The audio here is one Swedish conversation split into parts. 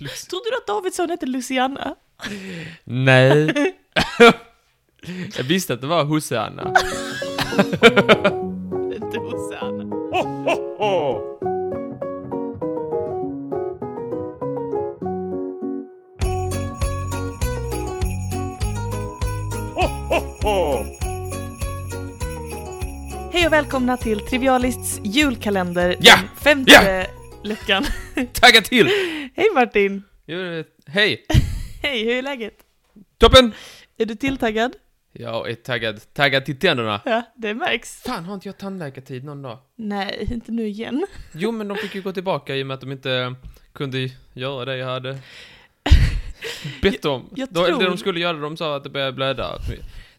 Lucy. Trodde du att Davidsson hette Luciana? Nej. Jag visste att det var Husseanna. Inte Hosanna. Hej och välkomna till Trivialists julkalender, Ja! den femte Ja! luckan. Tagga till! Hej Martin! Jo, Hej! Hej, hur är läget? Toppen! Är du tilltaggad? Jag är taggad. Taggad till tänderna. Ja, det märks. Fan, har inte jag tandläkartid någon dag? Nej, inte nu igen. Jo, men de fick ju gå tillbaka i och med att de inte kunde göra det jag hade bett om. Jag- jag Då- tror- Det de skulle göra, de sa att det började blöda.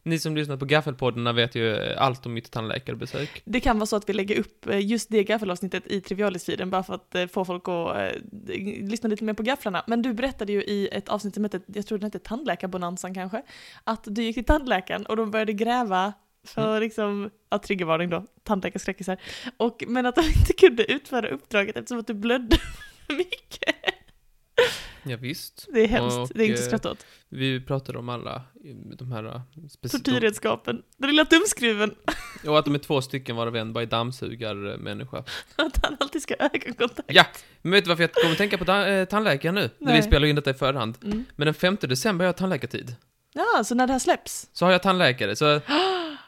Ni som lyssnar på Gaffelpoddarna vet ju allt om mitt tandläkarbesök. Det kan vara så att vi lägger upp eh, just det gaffelavsnittet i Trivialist-feeden bara för att eh, få folk att eh, d- lyssna lite mer på gafflarna. Men du berättade ju i ett avsnitt som hette, jag tror den hette Tandläkarbonanzan kanske, att du gick till tandläkaren och de började gräva för liksom, ja triggervarning då, tandläkarskräckisar. Och, men att de inte kunde utföra uppdraget eftersom att du blödde för mycket. Ja, visst. Det är hemskt, Och, det är inte eh, att skratta åt. Vi pratade om alla eh, de här... eh, speci- Tortyrredskapen, den lilla tumskruven, Och att de är två stycken varav en bara är dammsugarmänniska. att han alltid ska ha ögonkontakt. Ja, men vet du varför jag kommer tänka på ta- eh, tandläkaren nu? När vi Nej. spelar in detta i förhand. Mm. Men den 5 december har jag tandläkartid. Ja, så när det här släpps, Så har jag tandläkare, så...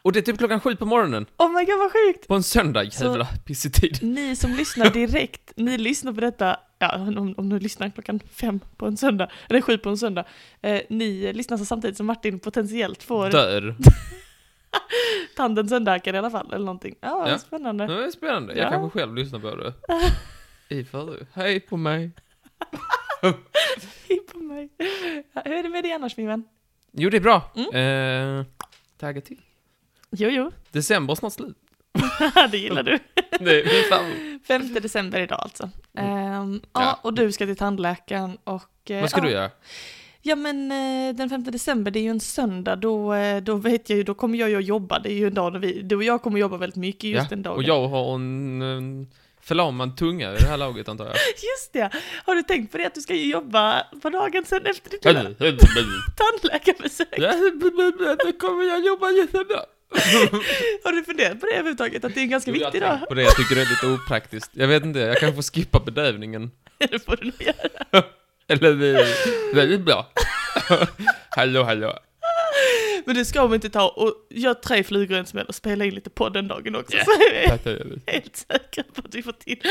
Och det är typ klockan sju på morgonen. oh my god vad sjukt! På en söndag, Så- jävla pissig tid. Ni som lyssnar direkt, ni lyssnar på detta, ja, om, om ni lyssnar klockan fem på en söndag, eller sju på en söndag, eh, ni lyssnar så samtidigt som Martin potentiellt får Dör. tanden sönderhackad i alla fall, eller någonting. Ja, Mm. Ja. spännande. Det är spännande, Ja. jag kanske själv lyssnar på det. I förhör. Hej på mig. Hej på mig. Ja, Hur är det med dig annars min vän? Jo, det är bra. Mm. Eh, tagga till. Jo, jo, December är snart slut. det gillar du. Nej, fy fan. 5 december idag alltså. Ehm, Ja. ja, och du ska till tandläkaren och... eh, Vad ska ja. du göra? Ja men eh, den 5 december, det är ju en söndag, då, eh, då vet jag ju, då kommer jag ju att jobba, det är ju en dag då vi, du och jag kommer jobba väldigt mycket just Ja, den dagen. Och jag har en, en förlamad tunga i det här laget, antar jag. Just det! Har du tänkt på det att du ska ju jobba på dagen sen efter ditt lilla tandläkarbesök? Nu kommer jag jobba jättebra. Har du funderat på det överhuvudtaget? Att det är en ganska Jo, jag har viktig tänkt dag? på det, jag tycker det är lite opraktiskt. Jag vet inte, jag kanske får skippa bedövningen. Det får du nog göra. Eller vi- väldigt bra. hallå, hallå. Men du ska väl inte ta och göra tre flugor i en smäll och spela in lite podd den dagen också? Ja. Så är jag Tack, tack, tack. helt säker på att vi får till.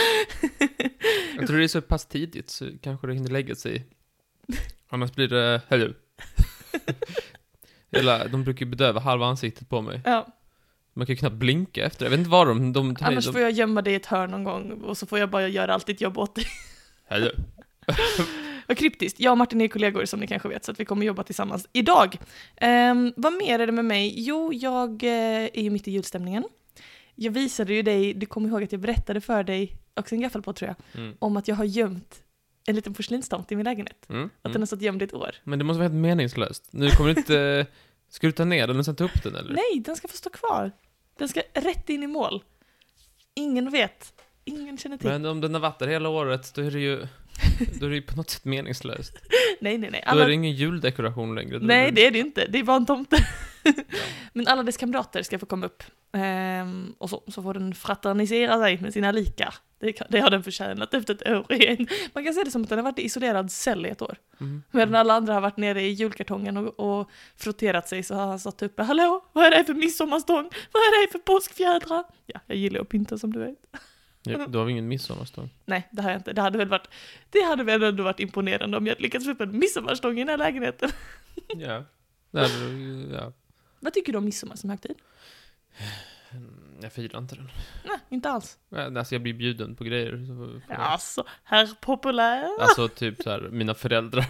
Jag tror det är så pass tidigt så kanske det hinner lägga sig. Annars blir det hallå. Eller, de brukar ju bedöva halva ansiktet på mig. Ja, Man kan ju knappt blinka efter det. Jag vet inte vad de... de, de, annars de får jag gömma dig i ett hörn någon gång och så får jag bara göra allt ditt jobb åt dig. Hallå. Vad kryptiskt. Jag och Martin är kollegor som ni kanske vet, så att vi kommer jobba tillsammans idag. Ehm, vad mer är det med mig? Jo, jag eh, är ju mitt i julstämningen. Jag visade ju dig, du kommer ihåg att jag berättade för dig, också en gaffel på tror jag, Mm. om att jag har gömt en liten porslinstomt i min lägenhet. Mm. Att den Mm. har stått gömd i ett år. Men det måste vara helt meningslöst. Nu kommer du inte... Ska du ta ner den och sen ta upp den eller? Nej, den ska få stå kvar. Den ska rätt in i mål. Ingen vet. Ingen känner till. Men om den har varit där hela året, då är det ju... Då är det ju på något sätt meningslöst. nej, nej, nej. Då är Alla... det ingen juldekoration längre. Då är Nej, det är det ju inte. Det är bara en tomte. Men alla dess kamrater ska få komma upp. Ehm, och så, så får den fraternisera sig med sina likar. Det, kan- det har den förtjänat efter ett år igen. Man kan se det som att den har varit i isolerad cell i ett år. Mm. Medan alla andra har varit nere i julkartongen och, och frotterat sig så har han satt uppe. Hallå, vad är det här för midsommarstång? Vad är det här för påskfjädrar? Ja, jag gillar ju att pynta som du vet. Ja, då har vi ingen midsommarstång. Nej, det har jag inte. Det hade väl varit, det hade väl ändå varit imponerande om jag hade lyckats få upp en midsommarstång i den här lägenheten. Ja. Nej, då- ja. Vad tycker du om midsommar som högtid? Mm, Jag firar inte den. Nej, inte alls. Nej, Alltså jag blir bjuden på grejer. så- Alltså, herr populär, Alltså typ så här, mina föräldrar.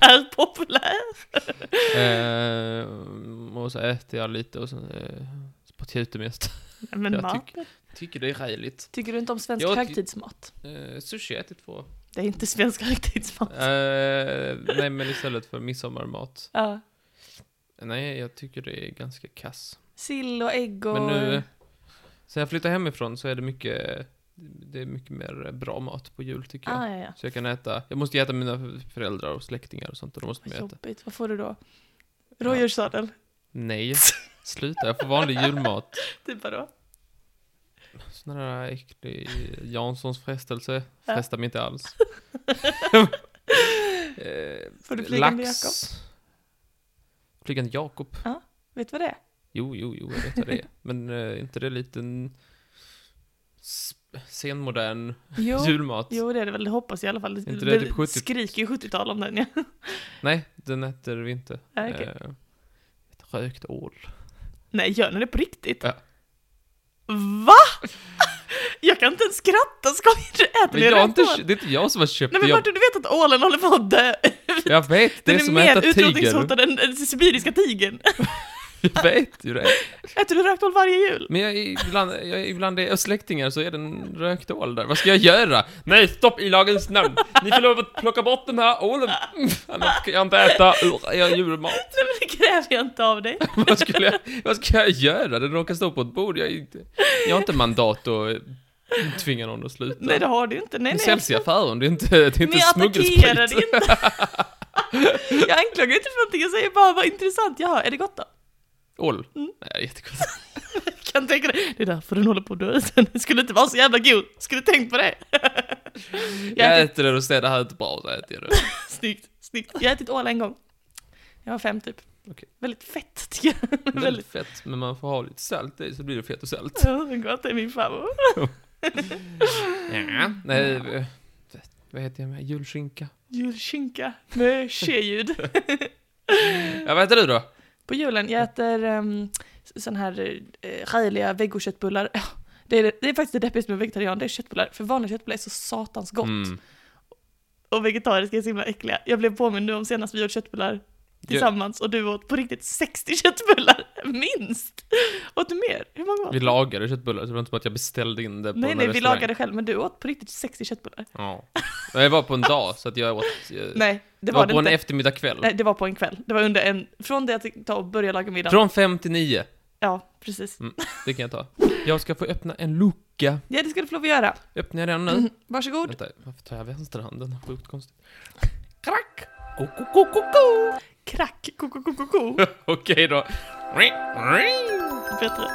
herr populär. Eh, och så äter jag lite och sen eh, spottar jag ut det mest. Nej, Men Jag mat. Tycker det är rejält. Tycker du inte om svensk Jag ty- högtidsmat? Eh, sushi har jag ätit två. Det är inte svensk högtidsmat. Eh, nej men istället för midsommarmat. Ja. Nej, jag tycker det är ganska kass. Sill och ägg och... Men nu, sen jag flyttade hemifrån så är det mycket det är mycket mer bra mat på jul tycker jag. Ah, ja, ja. Så jag kan äta, jag måste ju äta mina föräldrar och släktingar och sånt och då måste man Vad ju äta. jobbigt. Vad får du då? Rådjurssadel? Nej, sluta, jag får vanlig julmat. Typ vadå? Sån här äcklig Janssons frestelse, Ja. frestar mig inte alls. eh, Får du flygande lax. Jakob? Flygande Jakob? Vet du vad det är? Jo, jo, jo, jag vet vad det är. Men eh, inte det liten s- senmodern Jo. julmat? Jo, det är det väl. Det hoppas jag i alla fall. Inte det typ 70? skriker ju 70-tal om den, ja. Nej, den äter vi inte. Ja, Ah, okej. Eh, ett rökt ål. Nej, gör ni det på riktigt? Ja. Va? Jag kan inte ens skratta, skojar du? Äter Men ni jag har inte, rödhål? det är inte jag som har köpt Nej det. men Jag, Martin, du vet att ålen håller på att dö? jag vet, det Den är, är, som att mer äta tiger. utrotningshotad än den sibiriska tigern. Jag vet ju det. Äter du rökt ål varje jul? Men jag, ibland, jag, ibland är jag släktingar så är det en rökt ål där. Vad ska jag göra? Nej, stopp i lagens namn! Ni får lov att plocka bort den här ålen! Mm, Annars ska jag inte äta ur er djurmat. Nej men det kräver jag inte av dig. Vad, skulle jag, vad ska jag göra? Den råkar stå på ett bord. Jag, är inte, jag har inte mandat att tvinga någon att sluta. Nej det har du inte. Nej, alltså- Den nej. säljs i affären, det är inte, det Men är inte jag attackerar smuggelsprit. inte. jag anklagar inte för någonting, jag säger bara vad intressant. Jaha, är det gott då? Ål? Mm. Nej, det är jättegott. Jag kan tänka dig, det är därför den håller på att dö sen. Den skulle inte vara så jävla god. Skulle tänkt på det. Jag har Jag ätit, äter det och säger det här är inte bra, så äter jag det. snyggt, snyggt. Jag har ätit ål en gång. Jag var fem typ. Okej. Väldigt fett tycker jag. Det är Väldigt väldigt fett, men man får ha lite salt i så blir det fett och salt. Ja, det är gott, det är min farmor. Ja, Mm. nej, eh, vad heter jag med? Julskinka? Julskinka med tjeljud. Ja, vad heter du då? På julen, jag äter um, sån här uh, räliga vegoköttbullar. Ja, Det är, det, det är faktiskt det deppigaste med vegetarian, det är köttbullar. För vanliga köttbullar är så satans gott. Mm. Och vegetariska är så himla äckliga. Jag blev påmind nu om senast vi åt köttbullar tillsammans och du åt på riktigt 60 köttbullar, minst! Åt du mer? Hur många åt Vi du? lagade köttbullar, så det var inte som att jag beställde in det på Nej, en nej, vi restaurang. lagade själv, men du åt på riktigt 60 köttbullar. Ja. Men jag var på en dag, så att jag åt... eh, Nej, det det var, var, det på inte. en eftermiddag kväll. nej, det var på en kväll. Det var under en, från det att jag ta och börja laga middag. Från fem till nio. Ja, precis. Det kan jag ta. Jag ska få öppna en lucka. Ja, det ska du få lov att göra. Öppnar jag den nu? Mm, Varsågod. Vänta, varför tar jag vänsterhanden? Sjukt konstigt. Krack! Ko, ko, ko, ko, ko. Krack! Koko, koko, ko. Okej då. Bättre.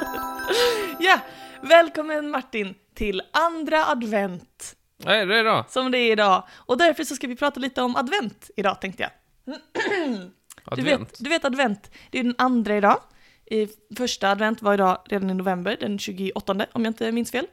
Ja, välkommen Martin till andra advent Nej, det är då. som det är idag. Och därför så ska vi prata lite om advent idag tänkte jag. Du Advent. vet, du vet advent, det är den andra idag. I första advent var idag redan i november, den 28 om jag inte minns fel.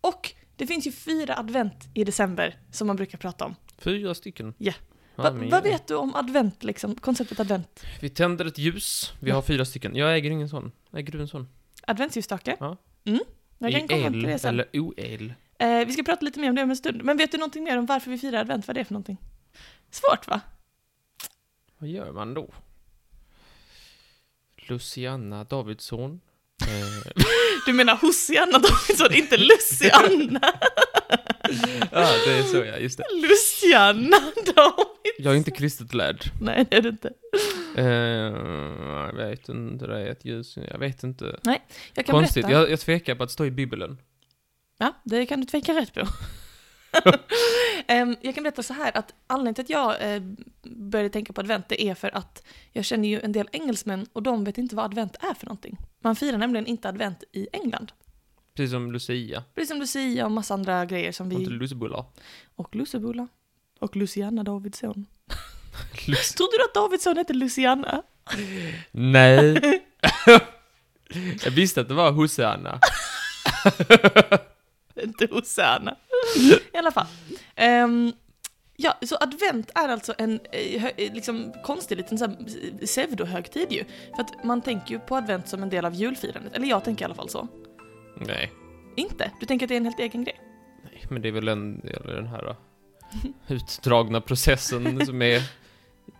Och det finns ju fyra advent i december som man brukar prata om. Fyra stycken. Ja. Ja, Va, men- vad vet du om advent, liksom, konceptet advent? Vi tänder ett ljus. Vi har fyra stycken. Jag äger ingen sån. Äger du en sån? Adventsljusstake? Ja. Mm, jag kan komma el till E det sen. eller oel? Eh, vi ska prata lite mer om det om en stund. Men vet du någonting mer om varför vi firar advent? Vad det är för någonting? Svårt va? Vad gör man då? Luciana Davidsson. Eh, Du menar Hosianna Davidsson, inte Lucianna? ja, det är så ja, just det. Lucianna Davidsson? Jag är inte kristet lärd. Nej, det är du inte. Eh, jag vet inte, det är ett ljus. Jag vet inte. Jag kan Konstigt, berätta. jag, jag tvekar på att stå i Bibeln. Ja, det kan du tveka rätt på. Em, jag kan berätta så här att anledningen till att jag eh, började tänka på advent det är för att jag känner ju en del engelsmän och de vet inte vad advent är för någonting. Man firar nämligen inte advent i England. Precis som Lucia. Precis som Lucia och massa andra grejer som Vi... Inte vi... lussebullar. Och Lussebullar. Och Luciana Davidsson. Lus- Trodde du att Davidsson hette Luciana? Nej. jag visste att det var Hosanna. Inte Hosanna. I alla fall. Ehm, ja, så advent är alltså en eh, hö- eh, liksom, konstig liten så här, eh, pseudohögtid ju. För att man tänker ju på advent som en del av julfirandet. Eller jag tänker i alla fall så. Nej. Inte? Du tänker att det är en helt egen grej? Nej, men det är väl en del av den här då, utdragna processen som är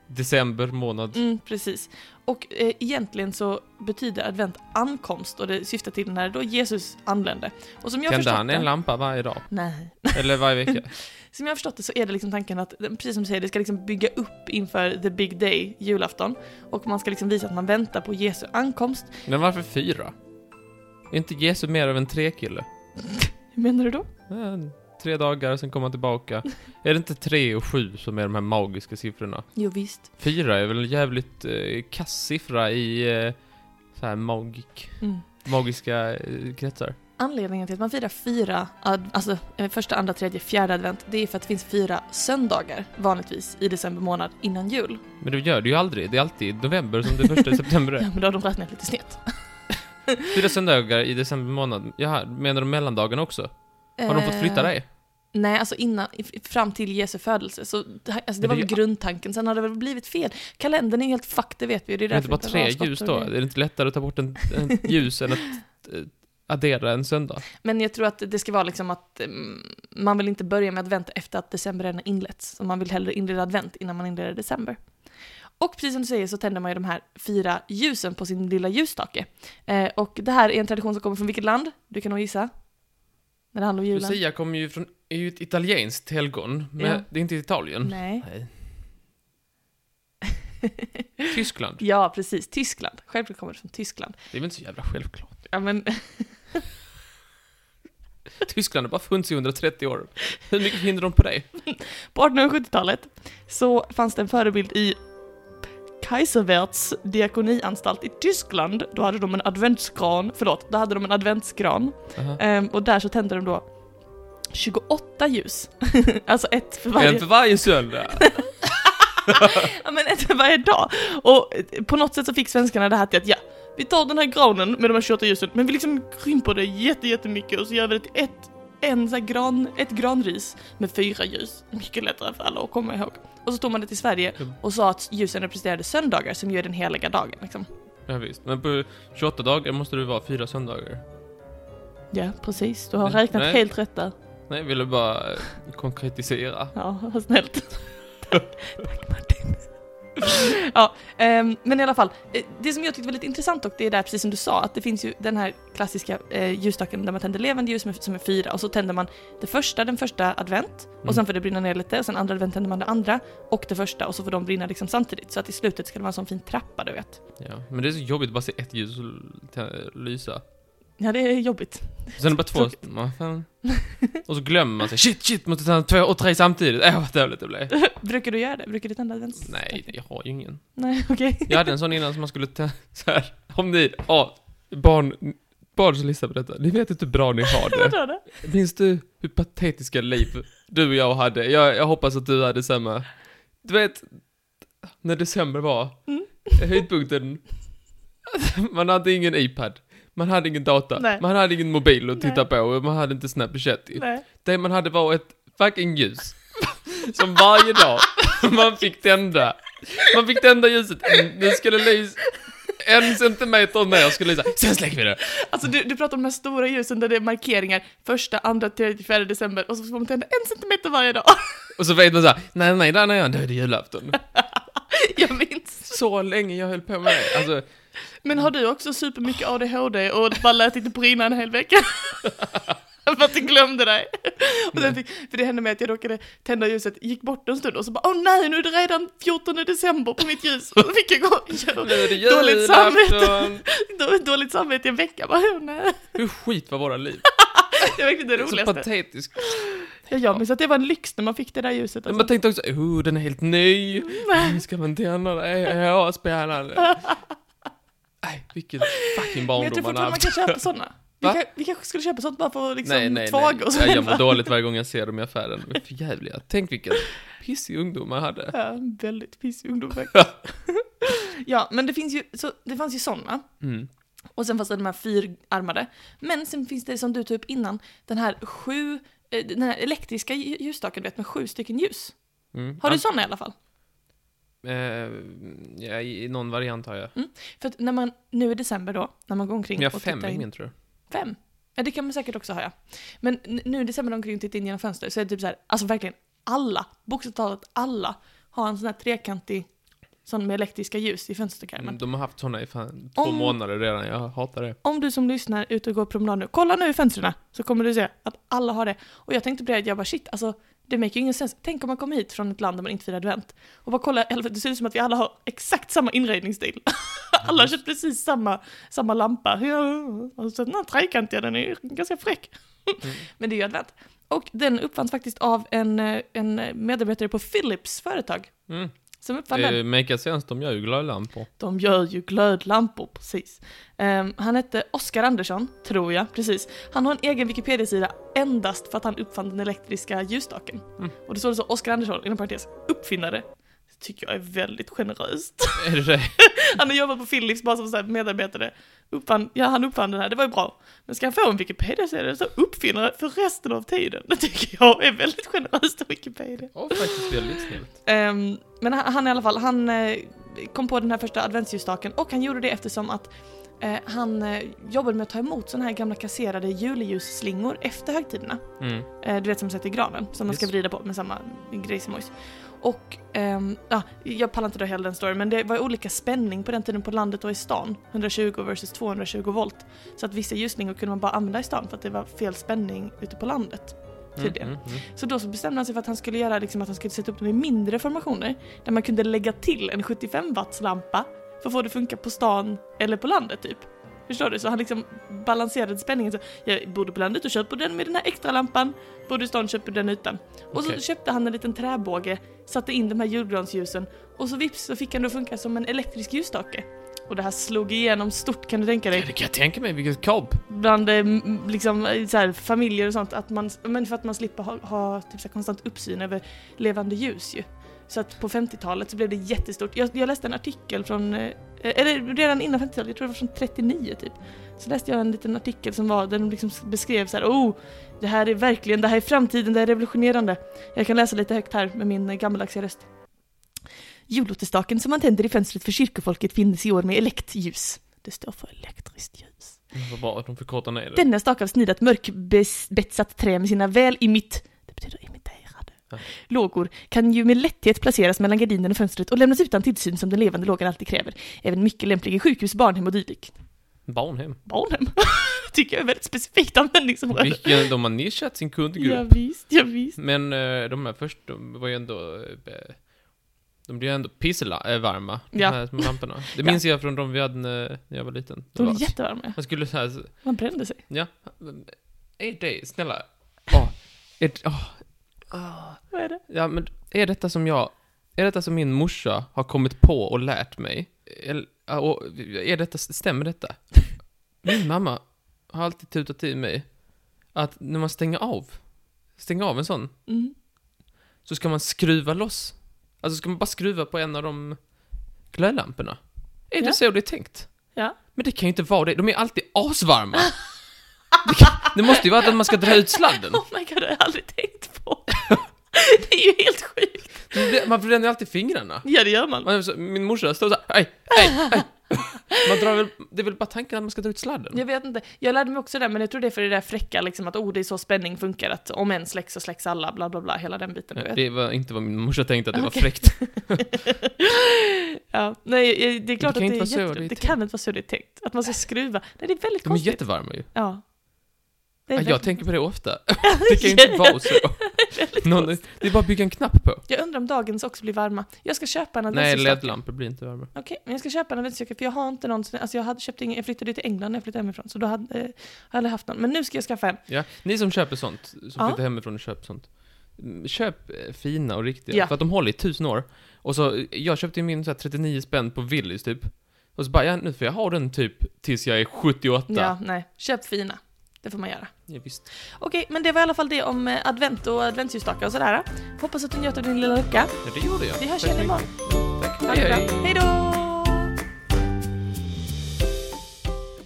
december månad. Mm, precis. Och eh, egentligen så betyder advent ankomst och det syftar till när då Jesus anlände. Och som jag Tände förstått han det- en lampa varje dag? Nej. Eller varje vecka? Som jag har förstått det så är det liksom tanken att, precis som du säger, det ska liksom bygga upp inför the big day, julafton. Och man ska liksom visa att man väntar på Jesu ankomst. Men varför fyra? Är inte Jesu mer av en trekille? Menar du då? Eh, Tre dagar, sen kommer han tillbaka. Är det inte tre och sju som är de här magiska siffrorna? Jo, visst. Fyra är väl en jävligt eh, kass siffra i eh, så här magik, Mm. magiska eh, kretsar. Anledningen till att man firar fyra, ad, alltså eh, första, andra, tredje, fjärde advent, det är för att det finns fyra söndagar vanligtvis i december månad innan jul. Men det gör det ju aldrig. Det är alltid november som det första i september Ja, är. men då har de räknat lite snett. Fyra söndagar i december månad. Jaha, menar de mellandagarna också? Har de fått flytta Eh, dig? Nej, alltså innan, i- fram till Jesu födelse. Så, det här- alltså det Men var det är väl ju- grundtanken, sen har det väl blivit fel. Kalendern är helt fuck, det vet vi ju. Det är Det är inte därför bara den tre avslutar ljus och då? grejer. Är det inte lättare att ta bort en, en ljus än att eh, addera en söndag? Men jag tror att det ska vara liksom att mm, man vill inte börja med advent efter att december redan har inletts. Så man vill hellre inleda advent innan man inleder december. Och precis som du säger så tänder man ju de här fyra ljusen på sin lilla ljusstake. Eh, och det här är en tradition som kommer från vilket land? Du kan nog gissa. När det handlar om julen. Lucia kommer ju från, är ju ett italienskt helgon, men Ja. det är inte Italien. Nej. Nej. Tyskland. Ja, precis. Tyskland. Självklart kommer det från Tyskland. Det är väl inte så jävla självklart. Ja, men Tyskland har bara funnits i 130 år. Hur mycket hinner de på dig? På 1870-talet så fanns det en förebild i Kaiserwerths diakonianstalt i Tyskland. Då hade de en adventskran, förlåt, då hade de en adventskran. Aha. Ehm, och där så tände de då 28 ljus. alltså ett för varje, En för varje söndag. ja, men ett för varje dag. Och eh, på något sätt så fick svenskarna det här till att ja, vi tar den här granen med de här 28 ljusen, men vi liksom krymper det jätte, jättemycket och så gör vi det till ett, en så här gran, ett granris med fyra ljus. Mycket lättare för alla att komma ihåg. Och så tog man det till Sverige och sa att ljusen representerade söndagar som gör den heliga dagen. Liksom. Ja, visst. Men på 28 dagar måste det vara fyra söndagar. Ja, precis. Du har Nej. räknat Nej. helt rätt där. Nej, jag ville bara eh, konkretisera. Ja, vad snällt. Tack Martin. ja, ehm, men i alla fall. eh, Det som jag tyckte var lite intressant dock, det är där precis som du sa, att det finns ju den här klassiska eh, ljusstaken där man tänder levande ljus som är, som är fyra och så tänder man det första, den första advent Mm. och sen får det brinna ner lite och sen andra advent tänder man det andra och det första och så får de brinna liksom samtidigt så att i slutet ska det vara en sån fin trappa du vet. Ja. Men det är så jobbigt att bara se ett ljus l- lysa. Ja, det är jobbigt. Sen är det bara två... Tråkigt. Ja, fan. Och så glömmer man sig. Shit, shit, måste ta två och tre samtidigt. Äh, vad dåligt det blev. Brukar du göra det? Brukar du tända advents? Nej, jag har ju ingen. Nej, okej. Jag hade en sån innan som man skulle ta, så här, om ni, ja, barn, barn som lyssnar på detta, ni vet inte hur bra ni har Vad det. var det? Minns du hur patetiska liv du och jag hade? Jag, jag hoppas att du hade samma. Du vet, när december var, Mm. höjdpunkten, man hade ingen iPad, man hade ingen data, Nej. man hade ingen mobil att titta Nej. på, och man hade inte Snapchat. Nej. Det man hade var ett fucking ljus. Som varje dag man fick tända. Man fick tända ljuset. Nu skulle lysa en centimeter ner skulle lysa. Sen släcker vi det. Alltså du, du pratar om de här stora ljusen där det är markeringar första, andra, tredje, fjärde december och så får man tända en centimeter varje dag. Och så vet man såhär, nej nej, där när jag, då är det julafton. Jag minns. Så länge jag höll på med det. Alltså, Men har du också supermycket ADHD och bara lät inte brinna en hel vecka? För att du glömde dig. Och sen fick, för det hände mig att jag råkade tända ljuset, gick bort en stund och så bara åh nej nu är det redan 14 december på mitt ljus. Och så fick jag gå och nu är det göra dåligt samvete, julafton. då- dåligt samvete i en vecka. Bara, åh, nej. Hur skit var våra liv? Det var verkligen det Så roligaste. patetiskt. Ja, jag minns att det var en lyx när man fick det där ljuset. Men Alltså. man tänkte också, oh den är helt ny. Nu ska man tända det? Ja, spännande. Nej, vilken fucking Men jag tror barndom fortfarande man man har haft. kan köpa sådana. Vi, Va? kan, vi kanske skulle köpa sånt bara för att liksom nej, nej, tvaga nej. oss Jag mår själva. dåligt varje gång jag ser dem i affären. De är för jävliga. Tänk vilken pissig ungdom jag hade. Ja, en väldigt pissig ungdom faktiskt. ja, men det finns ju, så, det fanns ju sådana. Mm. Och sen fanns det de här fyrarmade. Men sen finns det som du tog upp innan, den här sju, eh, den här elektriska lj- ljusstaken du vet med sju stycken ljus. Mm. Har du sådana i alla fall? Ja, eh, ja, I i någon variant har jag. För att när man, nu i december då, när man går omkring Men jag har och fem tittar i in. min tror jag. Fem? Ja, det kan man säkert också ha, ja. Men n- nu i december omkring tittar in genom fönstret så är det typ så här, alltså verkligen alla, bokstavligt talat alla, har en sån här trekantig, sån med elektriska ljus i fönsterkarmen. Mm, De har haft såna i fan två Om- månader redan. Jag hatar det. Om du som lyssnar är ute och går promenad nu, kolla nu i fönstren så kommer du se att alla har det. Och jag tänkte på det, att jag bara shit, alltså det make ju ingen sens. Tänk om man kommer hit från ett land där man inte firar advent och bara kolla, helvete, det ser ut som att vi alla har exakt samma inredningsstil. alla har köpt precis samma, samma lampa. Ja, Och så den här trekantiga, den är ganska fräck. Men det är ju advent. Och den uppfanns faktiskt av en, eh, en medarbetare på Philips företag. Mm. Som uppfann den. Det makar sens, de gör ju glödlampor. De gör ju glödlampor, precis. Ehm, han hette Oskar Andersson, tror jag, precis. Han har en egen Wikipedia-sida endast för att han uppfann den elektriska ljusstaken. Mm. Och det står det så, Oskar Andersson, inom parentes, uppfinnare. Det tycker jag är väldigt generöst. Är det det? Han har jobbat på Philips bara som så här medarbetare. Uppfann, ja, han uppfann den här, det var ju bra. Men ska han få en Wikipedia-sida så uppfinnare för resten av tiden? Det tycker jag är väldigt generöst av Wikipedia. Ja, faktiskt väldigt snällt. Ehm, men han, han i alla fall, han eh, kom på den här första adventsljusstaken och han gjorde det eftersom att eh, han eh, jobbade med att ta emot sådana här gamla kasserade julljusslingor efter högtiderna. Mm. Eh, du vet som sätter i granen, som man ska Yes. vrida på med samma grej som ojs. Och, ehm, ja, jag pallar inte dra hela den storyn, men det var olika spänning på den tiden på landet och i stan. 120 versus 220 volt. Så att vissa ljusslingor kunde man bara använda i stan för att det var fel spänning ute på landet. Tydligen. Mm, mm, Så då så bestämde han sig för att han skulle göra liksom, att han skulle sätta upp dem i mindre formationer där man kunde lägga till en 75 watts lampa för att få det att funka på stan eller på landet typ. Förstår du? Så han liksom balanserade spänningen så jag bodde på landet och köper den med den här extra lampan, bodde i stan köper den utan. Och så Okej. köpte han en liten träbåge, satte in de här julgransljusen och så vips så fick han det att funka som en elektrisk ljusstake. Och det här slog igenom stort kan du tänka dig mm. Det kan jag tänka mig, vilket kap. bland eh, m- liksom, eh, så här, familjer och sånt, att man, men för att man slipper ha, ha typ, så här, konstant uppsyn över levande ljus ju. Så att på 50-talet så blev det jättestort. Jag, jag läste en artikel från, eh, eller redan innan 50-talet, jag tror det var från 39 typ. Så läste jag en liten artikel som var, där de liksom beskrev så här, oh, det här är verkligen, det här är framtiden, det här är revolutionerande. Jag kan läsa lite högt här med min eh, gammaldags röst. Jullotestaken som man tänder i fönstret för kyrkofolket finns i år med elektljus. Det står för elektriskt ljus. Vad bra att de förkortar ner det. Denna stak av snidat mörkbetsat trä med sina väl imit... Det betyder imiterade. Ja. Lågor kan ju med lätthet placeras mellan gardinen och fönstret och lämnas utan tillsyn som den levande lågan alltid kräver. Även mycket lämplig i sjukhus, barnhem och dylikt. Barnhem. Barnhem? Tycker jag är väldigt specifikt användningsområde. Vilken, de har nischat sin kundgrupp. Ja, visst, ja, visst. Men eh, de här först, de var ju ändå... eh, De blev ju ändå pisselvarma, de Ja. här små lamporna. Det Ja. minns jag från de vi hade när när jag var liten. Det De var- är jättevarma. Man skulle såhär, Man brände sig. ja. Är det, snälla. Åh, är, det- åh, ah. Vad är det? Ja, men är detta som jag... Är detta som min morsa har kommit på och lärt mig? Eller, ja, och, är detta, stämmer detta? Min mamma har alltid tutat i mig att när man stänger av, stänger av en sån, Mm. så ska man skruva loss. Alltså ska man bara skruva på en av de glödlamporna. Är Ja. det så det är tänkt? Ja. Men det kan ju inte vara det, de är alltid asvarma. Det, kan, det måste ju vara att man ska dra ut sladden. Oh my god, det har jag aldrig tänkt på. det är ju helt sjukt. Det blir- Man bränner ju alltid fingrarna. Ja, det gör man. Man, är så- min morsa står såhär, aj, aj, aj. Man drar väl, det är väl bara tanken att man ska dra ut sladden? Jag vet inte. Jag lärde mig också det, men jag tror det är för det där fräcka liksom att oh, det är så spänning funkar att om en släcks så släcks alla, bla bla bla, hela den biten. du Ja, vet. Det var inte vad min morsa tänkte att det Okej. var fräckt. ja, nej, jag- det är klart kan att det inte vara är så jätte... det är Det, tänkt. kan inte vara så det är tänkt. Att man ska skruva. Nej, det är väldigt De är konstigt. jättevarma ju. Ja. Det är Ja, jag väldigt- tänker på det ofta. Det kan ju inte vara så. Någon, det är bara att bygga en knapp på. Jag undrar om dagens också blir varma. Jag ska köpa en Nej, adventsljusstake. LED-lampor blir inte varma. Okej, men jag ska köpa en adventsljusstake för jag har inte någon. Alltså jag, hade köpt ingen, jag flyttade ju till England när jag flyttade hemifrån, så då hade eh, har jag aldrig haft någon. Men nu ska jag skaffa en. Ja, ni som köper sånt, som Ja. flyttar hemifrån och köper sånt. mm, Köp eh, fina och riktiga, Ja. för att de håller i tusen år. Och så, eh, jag köpte ju min så här 39 spänn på Willys typ. Och så bara, ja nu får jag ha den typ tills jag är 78. Ja, nej. Köp fina. Det får man göra. Ja, visst. Okej, men det var i alla fall det om eh, advent och adventsljusstakar och sådär. Hoppas att du njöt av din lilla lucka. Ja, det gjorde jag. Vi Tack hörs så igen mycket. imorgon. Tack. Ha Hej, det bra. hej. Hej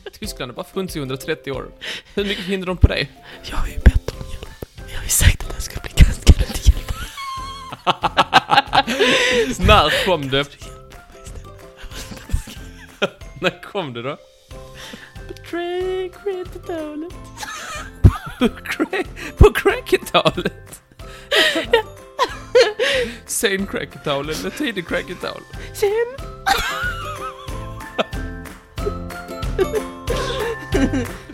då! Tyskland har bara funnits i 130 år. Hur mycket hinner de på dig? Jag har ju bett om hjälp. Jag har ju sagt att det här ska bli ganska lite hjälp. När kom det? När kom det då? Betray, create the dollar. På crack- På cracketalet? Sen cracketal eller tidig cracketal? Sen.